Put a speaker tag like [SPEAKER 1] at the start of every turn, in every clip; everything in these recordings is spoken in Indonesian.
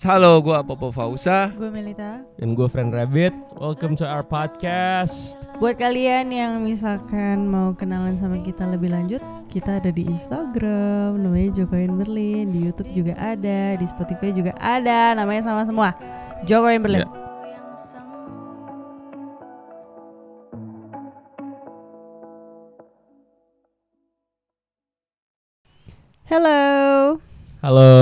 [SPEAKER 1] Halo, gua Popo Fausa.
[SPEAKER 2] Gue Melita.
[SPEAKER 3] Dan gue Friend Rabbit. Welcome to our podcast.
[SPEAKER 2] Buat kalian yang misalkan mau kenalan sama kita lebih lanjut, kita ada di Instagram, namanya Jokoin Berlin, di YouTube juga ada, di Spotify juga ada, namanya sama semua. Jokoin Berlin. Hello.
[SPEAKER 3] Halo,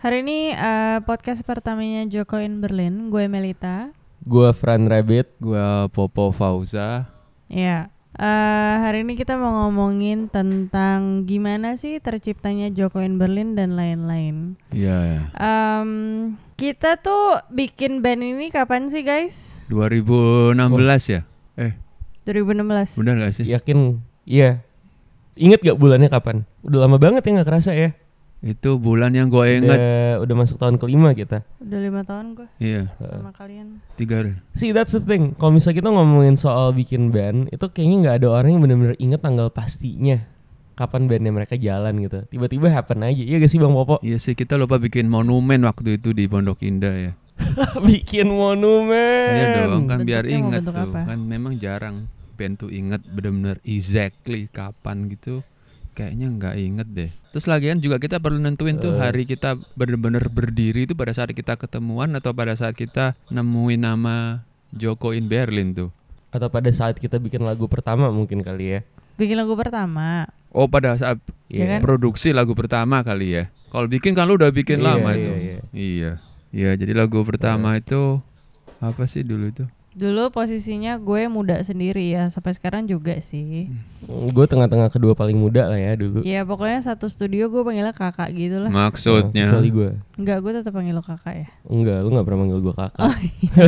[SPEAKER 2] Hari ini eh, podcast pertamanya Jokoin Berlin. Gue Melita.
[SPEAKER 3] gue Friend Rabbit.
[SPEAKER 1] Gua Popo Fausa.
[SPEAKER 2] Ya. Eh, hari ini kita mau ngomongin tentang gimana sih terciptanya Jokoin Berlin dan lain-lain.
[SPEAKER 1] Iya.
[SPEAKER 2] Em, kita tuh bikin band ini kapan sih guys?
[SPEAKER 1] 2016 ya? Eh,
[SPEAKER 2] 2016.
[SPEAKER 1] benar gak sih?
[SPEAKER 3] Yakin? Iya. Ingat gak bulannya kapan? Udah lama banget ya gak kerasa ya?
[SPEAKER 1] Itu bulan yang gua Iya, ingat.
[SPEAKER 3] Udah, udah masuk tahun kelima kita.
[SPEAKER 2] Udah lima tahun gue
[SPEAKER 1] Iya,
[SPEAKER 2] sama kalian.
[SPEAKER 1] tiga.
[SPEAKER 3] See, that's the thing. Kalau misalnya kita ngomongin soal bikin band, itu kayaknya nggak ada orang yang bener-bener inget tanggal pastinya. Kapan bandnya mereka jalan gitu. Tiba-tiba happen aja. Iya gak sih Bang Popo?
[SPEAKER 1] Iya sih, kita lupa bikin monumen waktu itu di Pondok Indah ya.
[SPEAKER 3] Bikin monumen.
[SPEAKER 1] Iya dong, kan
[SPEAKER 2] Bentuknya
[SPEAKER 1] biar
[SPEAKER 2] mau
[SPEAKER 1] inget
[SPEAKER 2] bentuk
[SPEAKER 1] tuh.
[SPEAKER 2] apa?
[SPEAKER 1] Kan memang jarang band tuh inget bener-bener exactly kapan gitu. Kayaknya nggak inget deh. Terus lagian juga kita perlu nentuin tuh hari kita bener-bener berdiri itu pada saat kita ketemuan atau pada saat kita nemuin nama Joko in Berlin tuh.
[SPEAKER 3] Atau pada saat kita bikin lagu pertama mungkin kali ya.
[SPEAKER 2] Bikin lagu pertama.
[SPEAKER 1] Oh pada saat
[SPEAKER 2] Iya kan?
[SPEAKER 1] produksi lagu pertama kali ya. Kalau bikin kan lu udah bikin
[SPEAKER 3] Iya,
[SPEAKER 1] lama
[SPEAKER 3] iya,
[SPEAKER 1] itu.
[SPEAKER 3] iya.
[SPEAKER 1] Iya. Iya, jadi lagu pertama itu apa sih dulu itu?
[SPEAKER 2] Dulu posisinya gue muda sendiri ya, sampai sekarang juga sih.
[SPEAKER 3] Gue tengah-tengah kedua paling muda lah ya dulu.
[SPEAKER 2] Ya pokoknya satu studio gue panggilnya kakak gitu lah.
[SPEAKER 1] Maksudnya
[SPEAKER 3] Nah, Kecuali gue.
[SPEAKER 2] Enggak, gue tetap panggil lo kakak ya.
[SPEAKER 3] Enggak, lu gak pernah manggil gue kakak.
[SPEAKER 1] Oh, iya.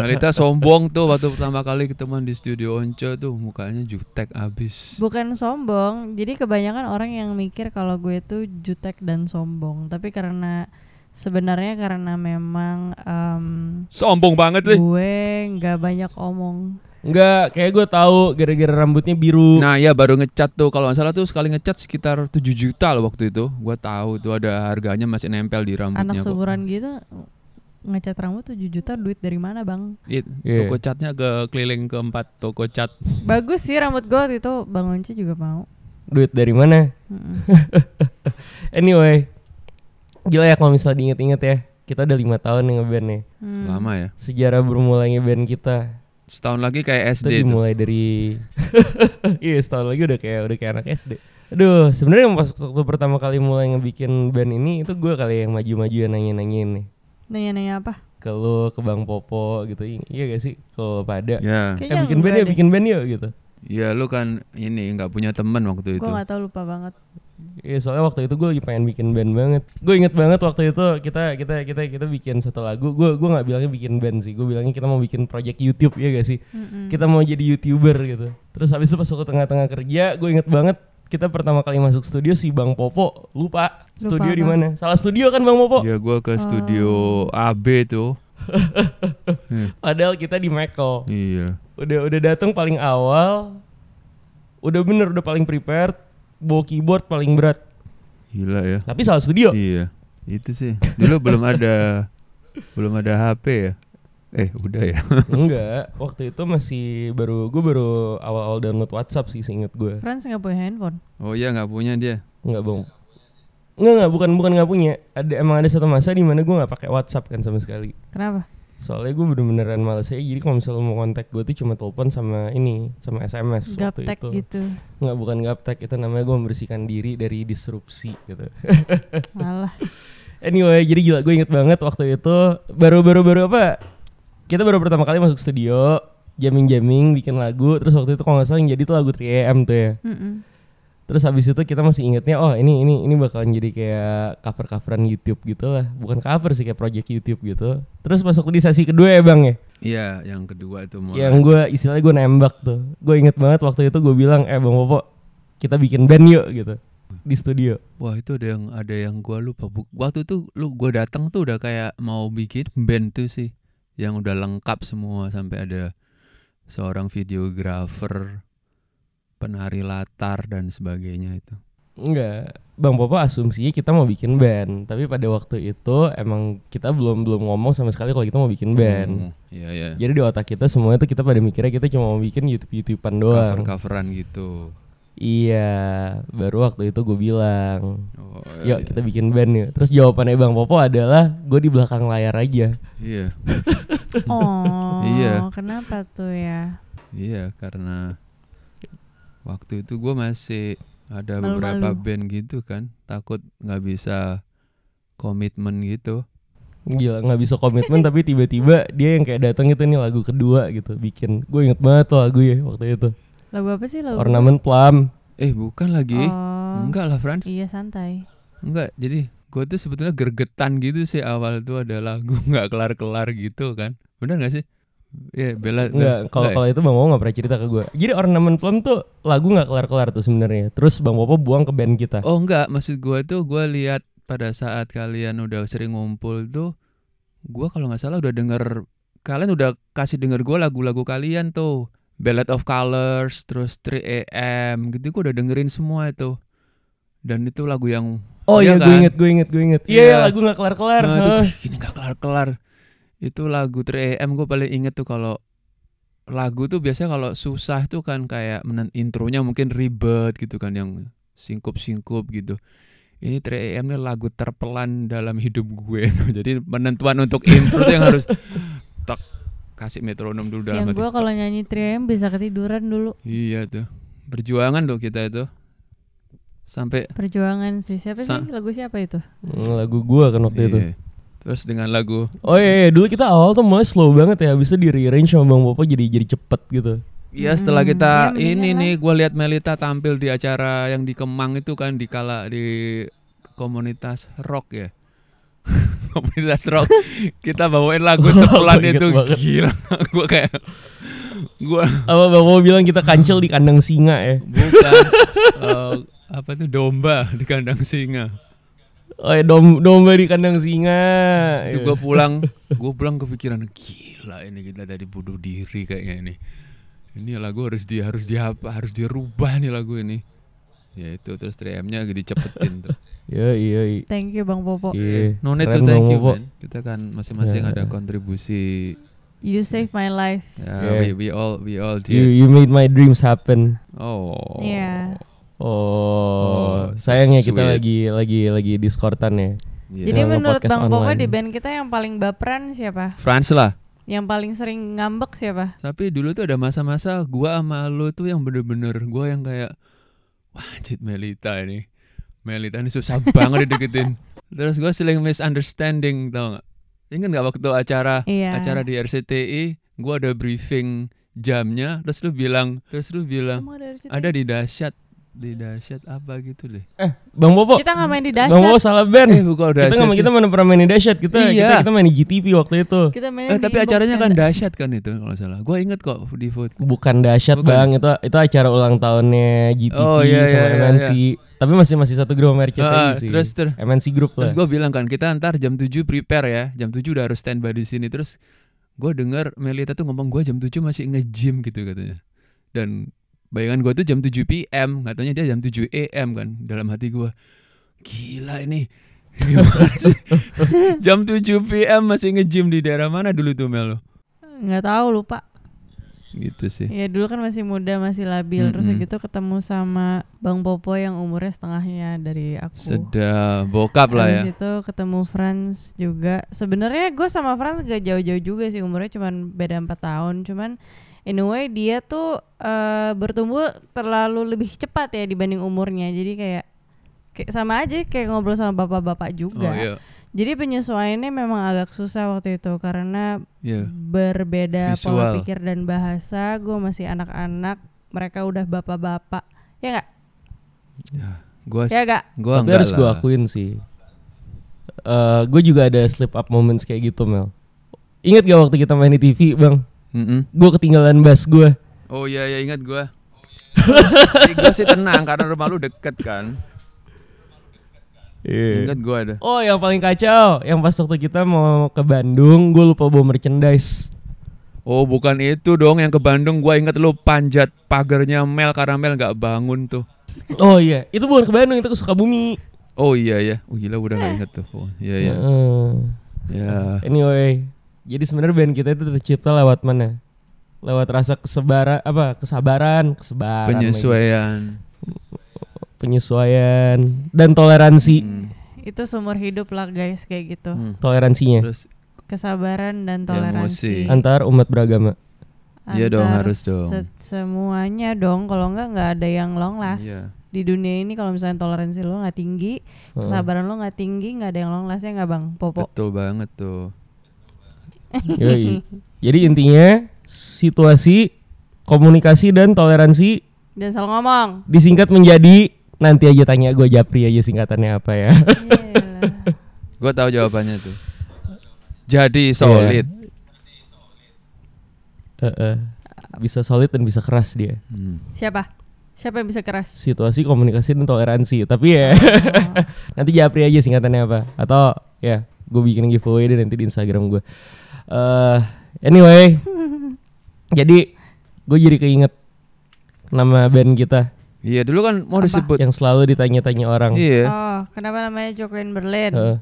[SPEAKER 1] Melita sombong tuh waktu pertama kali ketemuan di studio Onco tuh mukanya jutek abis.
[SPEAKER 2] Bukan sombong, jadi kebanyakan orang yang mikir kalau gue itu jutek dan sombong. Tapi karena sebenarnya karena memang em,
[SPEAKER 1] Sombong banget li.
[SPEAKER 2] gue nggak banyak omong.
[SPEAKER 3] Enggak, kayak gue tahu gara-gara rambutnya biru.
[SPEAKER 1] Nah ya baru ngecat tuh kalau nggak salah tuh sekali ngecat sekitar 7 juta loh waktu itu. Gua tahu tuh ada harganya masih nempel di
[SPEAKER 2] Anak
[SPEAKER 1] rambutnya. kok.
[SPEAKER 2] seumuran gitu ngecat rambut 7 juta duit dari mana bang?
[SPEAKER 1] It,
[SPEAKER 3] Iya.
[SPEAKER 1] Toko catnya ke keliling keempat toko cat.
[SPEAKER 2] Bagus sih rambut gue waktu itu bang Once juga mau.
[SPEAKER 3] Duit dari mana?
[SPEAKER 2] Mm-mm.
[SPEAKER 3] Anyway. Gila ya kalau misalnya diinget-inget ya. Kita udah lima tahun nih ngeband nih.
[SPEAKER 2] Hmm.
[SPEAKER 1] Lama ya.
[SPEAKER 3] Sejarah bermulanya band kita.
[SPEAKER 1] Setahun lagi kayak
[SPEAKER 3] Itu
[SPEAKER 1] SD tuh.
[SPEAKER 3] dimulai dari Iya, setahun lagi udah kayak udah kayak anak SD. Aduh, sebenarnya pas waktu pertama kali mulai ngebikin band ini itu gue kali yang maju-majuan nanya-nanyain nih.
[SPEAKER 2] Nanya-nanya apa?
[SPEAKER 3] Ke lu, ke Bang Popo gitu. I- Iya gak sih? Kalau pada.
[SPEAKER 1] Ya.
[SPEAKER 3] Eh,
[SPEAKER 2] Kayaknya
[SPEAKER 3] bikin band
[SPEAKER 2] enggak
[SPEAKER 3] yuk,
[SPEAKER 2] deh.
[SPEAKER 3] bikin band yuk gitu.
[SPEAKER 1] Ya lu kan ini nggak punya teman waktu itu.
[SPEAKER 2] Gue nggak tahu lupa banget.
[SPEAKER 3] Iya soalnya waktu itu gue lagi pengen bikin band banget. Gue inget banget waktu itu kita kita kita kita bikin satu lagu. Gue gue nggak bilangnya bikin band sih. Gue bilangnya kita mau bikin project YouTube ya gak sih. Kita mau jadi youtuber gitu. Terus habis itu pas waktu tengah-tengah kerja, gue inget banget kita pertama kali masuk studio si Bang Popo lupa, studio di
[SPEAKER 2] apa?
[SPEAKER 3] mana. Salah studio kan Bang Popo.
[SPEAKER 1] Ya gua ke studio AB tuh.
[SPEAKER 3] Padahal kita di Meko.
[SPEAKER 1] Iya.
[SPEAKER 3] Udah udah datang paling awal. Udah bener udah paling prepared. Bawa keyboard paling berat.
[SPEAKER 1] Gila ya.
[SPEAKER 3] Tapi salah studio.
[SPEAKER 1] Iya. Itu sih. Dulu belum ada belum ada HP ya. Eh, udah ya.
[SPEAKER 3] Enggak, waktu itu masih baru gue baru awal-awal download WhatsApp sih seinget gue.
[SPEAKER 2] Friends nggak punya handphone.
[SPEAKER 1] Oh iya nggak punya dia.
[SPEAKER 3] Enggak bang. Enggak enggak bukan bukan nggak punya. Ada emang ada satu masa di mana gue nggak pakai WhatsApp kan sama sekali.
[SPEAKER 2] Kenapa?
[SPEAKER 3] Soalnya gue bener-beneran males aja. Jadi kalau misalnya mau kontak gue tuh cuma telepon sama ini, sama SMS waktu
[SPEAKER 2] Gaptek
[SPEAKER 3] itu.
[SPEAKER 2] gitu.
[SPEAKER 3] Enggak bukan gaptek itu namanya gue membersihkan diri dari disrupsi gitu.
[SPEAKER 2] Malah.
[SPEAKER 3] Anyway, jadi gila gue inget banget waktu itu baru-baru baru apa? Kita baru pertama kali masuk studio, jamming-jamming, bikin lagu. Terus waktu itu kalau nggak salah yang jadi tuh lagu 3AM tuh ya.
[SPEAKER 2] Mm-mm.
[SPEAKER 3] Terus habis itu kita masih ingetnya, oh ini ini ini bakalan jadi kayak cover-coveran YouTube gitu lah. Bukan cover sih kayak project YouTube gitu. Terus pas waktu di sesi kedua ya bang ya,
[SPEAKER 1] Iya, yang kedua itu mulai.
[SPEAKER 3] yang gue istilahnya gue nembak tuh. Gue inget banget waktu itu gue bilang, eh bang Popo, kita bikin band yuk gitu di studio.
[SPEAKER 1] Wah, itu ada yang ada yang gua lupa. Bu- Waktu itu lu gua datang tuh udah kayak mau bikin band tuh sih. Yang udah lengkap semua sampai ada seorang videografer, penari latar dan sebagainya itu.
[SPEAKER 3] Enggak, Bang Popo asumsinya kita mau bikin band, tapi pada waktu itu emang kita belum belum ngomong sama sekali kalau kita mau bikin band.
[SPEAKER 1] Hmm, Iya iya.
[SPEAKER 3] Jadi di otak kita semuanya tuh kita pada mikirnya kita cuma mau bikin YouTube-YouTubean doang.
[SPEAKER 1] Cover coveran gitu.
[SPEAKER 3] Iya, baru waktu itu gue bilang,
[SPEAKER 1] Oh,
[SPEAKER 3] yuk kita bikin band yuk. Terus jawabannya Bang Popo adalah gue di belakang layar aja.
[SPEAKER 1] Iya
[SPEAKER 2] Oh,
[SPEAKER 1] Iya.
[SPEAKER 2] kenapa tuh ya?
[SPEAKER 1] iya karena waktu itu gue masih ada
[SPEAKER 2] Malu-malu.
[SPEAKER 1] beberapa band gitu kan takut nggak bisa komitmen gitu.
[SPEAKER 3] Gila nggak bisa komitmen tapi tiba-tiba dia yang kayak datang itu nih lagu kedua gitu bikin. Gue inget banget tuh lagu ya waktu itu.
[SPEAKER 2] Lagu apa sih lagu?
[SPEAKER 3] Ornamen Plum.
[SPEAKER 1] Eh bukan lagi?
[SPEAKER 2] Oh,
[SPEAKER 1] Enggak lah Frans.
[SPEAKER 2] Iya santai.
[SPEAKER 1] Enggak, jadi gue tuh sebetulnya gergetan gitu sih awal tuh ada lagu nggak kelar-kelar gitu kan. Bener gak sih? Iya, Bella. ya?
[SPEAKER 3] Enggak, kalau kalau itu Bang Popo nggak pernah cerita ke gue. Jadi Ornamen Plum tuh lagu nggak kelar-kelar tuh sebenarnya. Terus Bang Popo buang ke band kita.
[SPEAKER 1] Oh enggak, maksud gue tuh gue lihat pada saat kalian udah sering ngumpul tuh, gue kalau nggak salah udah denger kalian udah kasih denger gue lagu-lagu kalian tuh. Ballad of Colors, terus 3 AM gitu gue udah dengerin semua itu. Dan itu lagu yang
[SPEAKER 3] Oh
[SPEAKER 1] iya
[SPEAKER 3] iya, gue
[SPEAKER 1] kan?
[SPEAKER 3] inget, gue inget, gue inget. Iya,
[SPEAKER 1] Iya.
[SPEAKER 3] lagu nggak kelar-kelar.
[SPEAKER 1] Nah,
[SPEAKER 3] Hah.
[SPEAKER 1] itu gini gak kelar-kelar. Itu lagu 3AM gue paling inget tuh kalau lagu tuh biasanya kalau susah tuh kan kayak menen intronya mungkin ribet gitu kan yang singkup-singkup gitu. Ini 3AM nih lagu terpelan dalam hidup gue. Jadi penentuan untuk intro tuh yang harus tek kasih metronom dulu dalam
[SPEAKER 2] Yang
[SPEAKER 1] hati.
[SPEAKER 2] gue kalau nyanyi 3M bisa ketiduran dulu.
[SPEAKER 1] Iya tuh. Berjuangan tuh kita itu. Sampai
[SPEAKER 2] Perjuangan sih. Siapa
[SPEAKER 1] Sa-
[SPEAKER 2] sih? Lagu siapa itu?
[SPEAKER 3] Hmm, Lagu gue kan waktu itu.
[SPEAKER 1] Iya. Terus dengan lagu
[SPEAKER 3] Oh iya, iya, dulu kita awal tuh mulai slow banget ya, habis itu di rearrange sama Bang Popo jadi jadi cepet gitu.
[SPEAKER 1] Iya setelah
[SPEAKER 2] Hmm,
[SPEAKER 1] kita
[SPEAKER 2] iya,
[SPEAKER 1] ini
[SPEAKER 2] mendingan lah.
[SPEAKER 1] nih gue lihat Melita tampil di acara yang di Kemang itu kan di kala di komunitas rock ya komunitas rock kita bawain lagu
[SPEAKER 2] Oh,
[SPEAKER 3] Wah,
[SPEAKER 1] sepelan
[SPEAKER 3] gua inget
[SPEAKER 1] itu
[SPEAKER 3] banget.
[SPEAKER 1] gila gue kayak gue
[SPEAKER 3] Apa Bang Popo bilang kita kancil di kandang singa ya?
[SPEAKER 1] bukan eh, apa tuh domba di kandang singa
[SPEAKER 3] Oh iya, dom domba di kandang singa.
[SPEAKER 1] itu gue pulang gue pulang kepikiran gila ini kita tadi bunuh diri kayaknya ini ini lagu harus di harus di apa harus dirubah nih lagu ini ya itu terus 3M-nya dicepetin tuh
[SPEAKER 3] Iya iya iya.
[SPEAKER 2] Thank you Bang Popo.
[SPEAKER 3] Iya.
[SPEAKER 1] Oh, no need to
[SPEAKER 3] Keren
[SPEAKER 1] thank
[SPEAKER 3] Bang
[SPEAKER 1] you
[SPEAKER 3] Popo.
[SPEAKER 1] man kita kan masing-masing
[SPEAKER 3] Ya.
[SPEAKER 1] ada kontribusi
[SPEAKER 2] You save my life.
[SPEAKER 1] Ya,
[SPEAKER 3] Ya.
[SPEAKER 1] we, we all we all
[SPEAKER 3] You
[SPEAKER 1] did
[SPEAKER 3] you made my dreams happen.
[SPEAKER 1] oh
[SPEAKER 2] Iya.
[SPEAKER 3] Oh, sayangnya kita
[SPEAKER 1] sweet.
[SPEAKER 3] lagi lagi lagi diskortan ya.
[SPEAKER 1] Iya.
[SPEAKER 2] Jadi
[SPEAKER 3] Yang
[SPEAKER 2] menurut
[SPEAKER 3] nge-podcast
[SPEAKER 2] Bang Popo
[SPEAKER 3] online.
[SPEAKER 2] di band kita yang paling baperan siapa?
[SPEAKER 1] France lah
[SPEAKER 2] Yang paling sering ngambek siapa?
[SPEAKER 1] tapi dulu tuh ada masa-masa gua sama lu tuh yang bener-bener gua yang kayak wah anjir Melita ini Melita ini susah banget dideketin terus gua sering misunderstanding tau gak ingat nggak waktu acara
[SPEAKER 2] Iya.
[SPEAKER 1] acara di RCTI gua ada briefing jamnya terus lu bilang terus lu bilang
[SPEAKER 2] Kamu dari situ?
[SPEAKER 1] ada di dahsyat di dahsyat apa gitu deh
[SPEAKER 3] Bang Popo,
[SPEAKER 2] Kita nggak main di
[SPEAKER 3] Bang Popo
[SPEAKER 2] dahsyat.
[SPEAKER 3] salah band.
[SPEAKER 1] Eh, bukan udah
[SPEAKER 3] Kan kita nggak
[SPEAKER 1] asyik
[SPEAKER 3] kita mana pernah main di dahsyat kita,
[SPEAKER 1] Iya.
[SPEAKER 3] kita kita main di GTV waktu itu.
[SPEAKER 2] Kita
[SPEAKER 1] sih.
[SPEAKER 2] main ya?
[SPEAKER 1] Eh,
[SPEAKER 2] di
[SPEAKER 1] tapi
[SPEAKER 2] inbox
[SPEAKER 1] acaranya kan
[SPEAKER 2] tenda.
[SPEAKER 1] dahsyat kan itu kalau nggak salah. Gue inget kok di food.
[SPEAKER 3] Bukan dahsyat
[SPEAKER 1] Bukan.
[SPEAKER 3] bang, itu itu acara ulang tahunnya GTV
[SPEAKER 1] Oh, iya, iya,
[SPEAKER 3] sama
[SPEAKER 1] iya,
[SPEAKER 3] MNC. Tapi masih masih satu grup sama RCTI
[SPEAKER 1] Ah,
[SPEAKER 3] sih.
[SPEAKER 1] terus ter-
[SPEAKER 3] MNC grup
[SPEAKER 1] Terus
[SPEAKER 3] lah.
[SPEAKER 1] gue bilang kan kita ntar jam 7 prepare ya. Jam 7 udah harus standby di sini. Terus gue denger Melita tuh ngomong gue jam 7 masih nge-gym gitu katanya. Dan bayangan gue tuh jam 7 PM, katanya dia jam 7 AM kan dalam hati gue. Gila ini. Gimana sih? jam 7 PM masih nge-gym di daerah mana dulu tuh Melo?
[SPEAKER 2] nggak tahu lupa.
[SPEAKER 1] Gitu sih.
[SPEAKER 2] Ya dulu kan masih muda masih labil terus
[SPEAKER 1] Mm-mm.
[SPEAKER 2] gitu ketemu sama Bang Popo yang umurnya setengahnya dari aku.
[SPEAKER 1] Sedap bokap lah ya.
[SPEAKER 2] Habis itu ketemu Franz juga. Sebenarnya gue sama Franz gak jauh-jauh juga sih umurnya cuman beda 4 tahun. Cuman in a way dia tuh eh, bertumbuh terlalu lebih cepat ya dibanding umurnya. Jadi kayak kayak sama aja kayak ngobrol sama bapak-bapak
[SPEAKER 1] Oh
[SPEAKER 2] juga.
[SPEAKER 1] iya.
[SPEAKER 2] Jadi penyesuaiannya memang agak susah waktu itu karena
[SPEAKER 1] Iya.
[SPEAKER 2] berbeda
[SPEAKER 1] Visual.
[SPEAKER 2] pola pikir dan bahasa. Gue masih anak-anak, mereka udah bapak-bapak. Ya nggak?
[SPEAKER 1] Gua
[SPEAKER 2] Ya nggak?
[SPEAKER 1] Gua
[SPEAKER 3] Tapi
[SPEAKER 1] enggak
[SPEAKER 3] harus gue
[SPEAKER 1] lah.
[SPEAKER 3] akuin sih. Eh, gue juga ada slip up moments kayak gitu Mel. Ingat gak waktu kita main di TV bang?
[SPEAKER 1] Mm-mm.
[SPEAKER 3] Gue ketinggalan bass gue.
[SPEAKER 1] Oh iya ya ingat gua. Tapi gua sih tenang karena rumah lu deket kan. Ingat gua ada.
[SPEAKER 3] Oh yang paling kacau, yang pas waktu kita mau ke Bandung, gue lupa bawa merchandise.
[SPEAKER 1] Oh bukan itu dong yang ke Bandung gua inget lu panjat pagarnya Mel karena Mel nggak bangun tuh.
[SPEAKER 3] Oh iya, itu bukan ke Bandung, itu ke Sukabumi.
[SPEAKER 1] Oh iya ya. Oh gila udah
[SPEAKER 2] Eh.
[SPEAKER 1] nggak inget tuh. Oh, iya iya.
[SPEAKER 3] Heeh. Eh,
[SPEAKER 1] Ya.
[SPEAKER 3] Anyway, jadi sebenarnya band kita itu tercipta lewat mana? Lewat rasa kesebara apa kesabaran, kesebaran, lagi.
[SPEAKER 1] Penyesuaian.
[SPEAKER 3] penyesuaian dan toleransi,
[SPEAKER 1] Hmm.
[SPEAKER 2] Itu seumur hidup lah guys kayak gitu.
[SPEAKER 1] Hmm.
[SPEAKER 3] toleransinya
[SPEAKER 1] Terus
[SPEAKER 2] Kesabaran
[SPEAKER 1] Emosi.
[SPEAKER 2] dan toleransi.
[SPEAKER 3] antar umat beragama.
[SPEAKER 1] Iya dong,
[SPEAKER 2] Antar
[SPEAKER 1] harus dong.
[SPEAKER 2] se- Semuanya dong kalau enggak nggak ada yang long last.
[SPEAKER 1] Iya.
[SPEAKER 2] Di dunia ini kalau misalnya toleransi lo nggak tinggi,
[SPEAKER 3] Heeh.
[SPEAKER 2] kesabaran lo nggak tinggi, nggak ada yang long lastnya nggak bang? Popo.
[SPEAKER 1] betul banget tuh.
[SPEAKER 3] Yoi. Jadi intinya situasi, komunikasi dan toleransi
[SPEAKER 2] Jangan salah ngomong.
[SPEAKER 3] disingkat menjadi nanti aja tanya gue Japri aja singkatannya apa ya.
[SPEAKER 2] Yelah.
[SPEAKER 1] Gua tahu jawabannya tuh. Jadi solid.
[SPEAKER 3] Iya. Heeh. Eh, Bisa solid dan bisa keras dia.
[SPEAKER 1] Hmm.
[SPEAKER 2] Siapa? Siapa yang bisa keras?
[SPEAKER 3] Situasi, komunikasi dan toleransi. Tapi ya nanti Japri aja singkatannya apa atau ya gue bikin giveaway deh nanti di Instagram gue. Eh anyway, jadi gue jadi keinget nama band kita
[SPEAKER 1] Iya dulu kan mau disebut.
[SPEAKER 3] yang selalu ditanya-tanya orang. Eh,
[SPEAKER 1] Iya.
[SPEAKER 2] Oh, kenapa namanya Jokoin Berlin?
[SPEAKER 3] Heeh.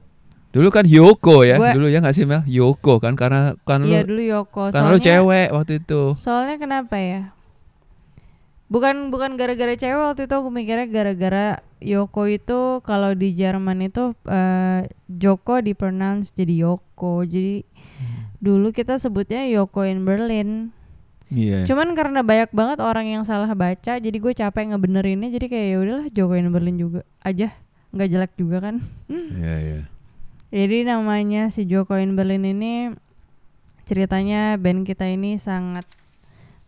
[SPEAKER 1] Dulu kan Yoko ya.
[SPEAKER 2] Gua-
[SPEAKER 1] Dulu ya nggak sih Mel? Yoko kan karena kan
[SPEAKER 2] Iya
[SPEAKER 1] lu
[SPEAKER 2] dulu Yoko.
[SPEAKER 1] kan lu cewek waktu itu.
[SPEAKER 2] Soalnya kenapa ya? Bukan bukan gara-gara cewek waktu itu aku mikirnya gara-gara Yoko itu kalau di Jerman itu eh, Joko dipronounce jadi Yoko. Jadi dulu kita sebutnya Yoko in Berlin.
[SPEAKER 1] Iya.
[SPEAKER 2] Cuman karena banyak banget orang yang salah baca, jadi gue capek ngebenerinnya. Jadi kayak ya udahlah Joko in Berlin juga aja, nggak jelek juga kan.
[SPEAKER 1] Iya iya.
[SPEAKER 2] Jadi namanya si Joko in Berlin ini ceritanya band kita ini sangat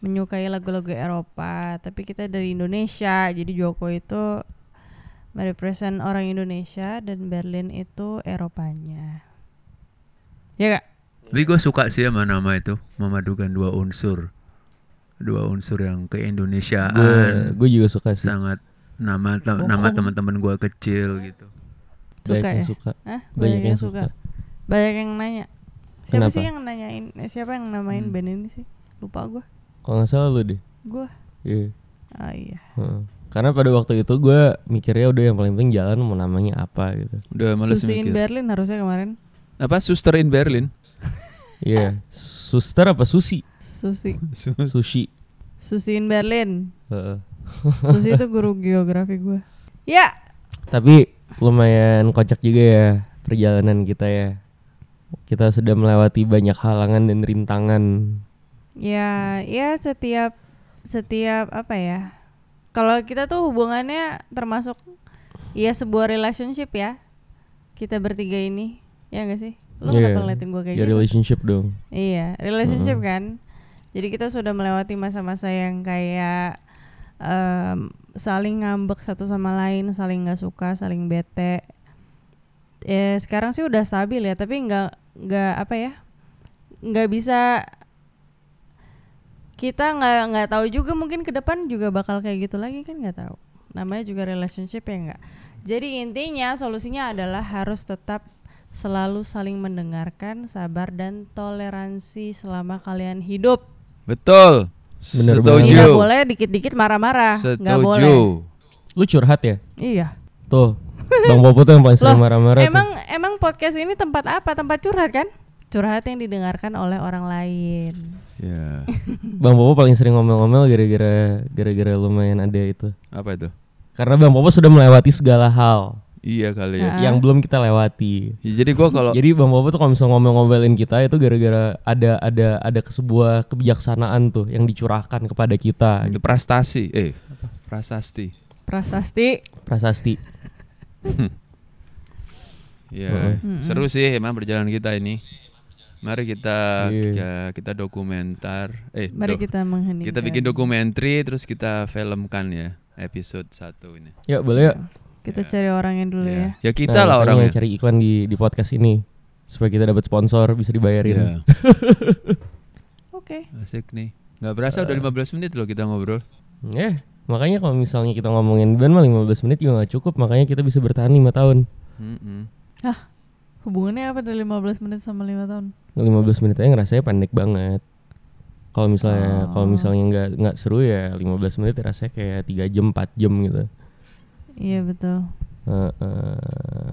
[SPEAKER 2] menyukai lagu-lagu Eropa, tapi kita dari Indonesia. Jadi Joko itu merepresent orang Indonesia dan Berlin itu Eropanya. Ya gak?
[SPEAKER 1] Tapi gue suka sih sama nama itu memadukan dua unsur, dua unsur yang keindonesiaan
[SPEAKER 3] Gue juga suka sih.
[SPEAKER 1] sangat nama te- nama teman-teman gue kecil gitu.
[SPEAKER 2] Suka
[SPEAKER 3] banyak
[SPEAKER 2] ya?
[SPEAKER 3] yang suka.
[SPEAKER 2] Hah?
[SPEAKER 3] Banyak yang suka.
[SPEAKER 2] Banyak yang nanya. Siapa
[SPEAKER 3] Kenapa?
[SPEAKER 2] sih yang nanyain? eh, Siapa yang namain
[SPEAKER 1] Hmm.
[SPEAKER 2] band ini sih? Lupa gue.
[SPEAKER 3] Kalau nggak salah lu deh.
[SPEAKER 2] Gue.
[SPEAKER 3] Iya.
[SPEAKER 2] Ah iya.
[SPEAKER 3] Heeh. Hmm. Karena pada waktu itu gue mikirnya udah yang paling penting jalan mau namanya apa gitu.
[SPEAKER 1] Udah males
[SPEAKER 2] Susi in
[SPEAKER 1] mikir.
[SPEAKER 2] Berlin harusnya kemarin.
[SPEAKER 1] Apa Suster in Berlin?
[SPEAKER 3] Iya. Suster apa sushi?
[SPEAKER 2] Susi.
[SPEAKER 3] Sushi.
[SPEAKER 2] Susi in Berlin.
[SPEAKER 3] Heeh.
[SPEAKER 2] Susi itu guru geografi gue. Ya,
[SPEAKER 3] Tapi lumayan kocak juga ya perjalanan kita ya. Kita sudah melewati banyak halangan dan rintangan.
[SPEAKER 2] ya, ya setiap setiap apa ya? Kalau kita tuh hubungannya termasuk ya sebuah relationship ya. Kita bertiga ini, ya gak sih? Lu
[SPEAKER 3] Iya.
[SPEAKER 2] kenapa ngeliatin gue kayak
[SPEAKER 3] Ya
[SPEAKER 2] gitu?
[SPEAKER 3] relationship dong.
[SPEAKER 2] Iya, relationship kan. Jadi kita sudah melewati masa-masa yang kayak em, saling ngambek satu sama lain, saling nggak suka, saling bete. Eh sekarang sih udah stabil ya, tapi nggak nggak apa ya, nggak bisa kita nggak nggak tahu juga mungkin ke depan juga bakal kayak gitu lagi kan nggak tahu. Namanya juga relationship ya nggak. Jadi intinya solusinya adalah harus tetap selalu saling mendengarkan, sabar dan toleransi selama kalian hidup.
[SPEAKER 1] Betul.
[SPEAKER 3] Bener
[SPEAKER 1] Setuju.
[SPEAKER 2] Tidak boleh dikit-dikit marah-marah, nggak
[SPEAKER 1] Setuju.
[SPEAKER 2] boleh.
[SPEAKER 3] Lu curhat ya?
[SPEAKER 2] Iya.
[SPEAKER 3] Tuh. Bang Popo tuh yang paling sering
[SPEAKER 2] Loh,
[SPEAKER 3] marah-marah tuh.
[SPEAKER 2] Emang emang podcast ini tempat apa? Tempat curhat kan? Curhat yang didengarkan oleh orang lain.
[SPEAKER 3] Iya.
[SPEAKER 1] Ya.
[SPEAKER 3] Bang Popo paling sering ngomel-ngomel gara-gara gara-gara lumayan ada itu.
[SPEAKER 1] Apa itu?
[SPEAKER 3] Karena Bang Popo sudah melewati segala hal
[SPEAKER 1] Iya kali
[SPEAKER 2] Nah. Ah.
[SPEAKER 1] ya.
[SPEAKER 3] yang belum kita lewati.
[SPEAKER 1] Ya, jadi gua kalau
[SPEAKER 3] Jadi Bang Popo tuh kalau misalnya ngomel-ngomelin kita itu gara-gara ada ada ada ke- sebuah kebijaksanaan tuh yang dicurahkan kepada kita.
[SPEAKER 1] itu
[SPEAKER 3] gitu.
[SPEAKER 1] prestasi, eh apa? prasasti.
[SPEAKER 2] Prasasti.
[SPEAKER 3] Prasasti.
[SPEAKER 1] Ya, seru sih emang perjalanan kita ini. Mari kita
[SPEAKER 3] Iya.
[SPEAKER 1] ya, kita dokumentar. Eh,
[SPEAKER 2] Mari
[SPEAKER 1] do-
[SPEAKER 2] kita mengheningkan.
[SPEAKER 1] Kita bikin dokumenter terus kita filmkan ya episode satu ini.
[SPEAKER 3] Yuk boleh yuk.
[SPEAKER 2] Kita cari orangnya dulu ya.
[SPEAKER 1] Ya kita lah
[SPEAKER 3] Nah, makanya
[SPEAKER 1] orangnya.
[SPEAKER 3] cari iklan di di podcast ini supaya kita dapat sponsor bisa
[SPEAKER 1] Iya.
[SPEAKER 3] dibayarin.
[SPEAKER 2] Oke.
[SPEAKER 1] Asik nih. Nggak berasa udah 15 menit loh kita ngobrol. Iya.
[SPEAKER 3] Eh, makanya kalau misalnya kita ngomongin band mah 15 menit juga nggak cukup, makanya kita bisa bertahan 5 tahun.
[SPEAKER 1] Mm-mm.
[SPEAKER 2] Hah. Hubungannya apa dari 15 menit sama 5 tahun?
[SPEAKER 3] 15 Nah, menit aja ngerasanya pendek banget. Kalau
[SPEAKER 1] Ah.
[SPEAKER 3] misalnya kalau misalnya nggak nggak seru ya 15 menit rasanya kayak 3 jam 4 jam gitu.
[SPEAKER 2] Iya betul.
[SPEAKER 3] Heeh.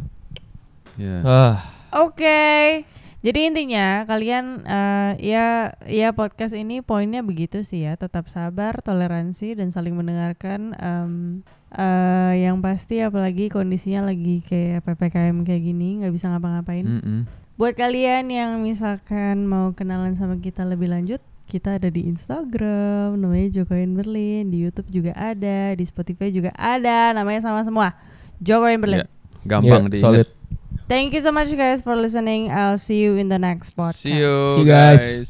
[SPEAKER 1] Ya.
[SPEAKER 3] Ah,
[SPEAKER 2] Oke. Jadi intinya kalian eh, ya ya podcast ini poinnya begitu sih ya, tetap sabar, toleransi dan saling mendengarkan em, eh, yang pasti apalagi kondisinya lagi kayak PPKM kayak gini, nggak bisa ngapa-ngapain.
[SPEAKER 1] Mm-mm.
[SPEAKER 2] Buat kalian yang misalkan mau kenalan sama kita lebih lanjut, kita ada di Instagram, namanya Jokoin Berlin, di YouTube juga ada, di Spotify juga ada, namanya sama semua. Jokoin Berlin.
[SPEAKER 1] Ya, Gampang
[SPEAKER 3] yeah,
[SPEAKER 1] diingat.
[SPEAKER 3] Iya, solid.
[SPEAKER 2] Thank you so much guys for listening. I'll see you in the next podcast.
[SPEAKER 1] See you
[SPEAKER 3] See you guys.
[SPEAKER 1] guys.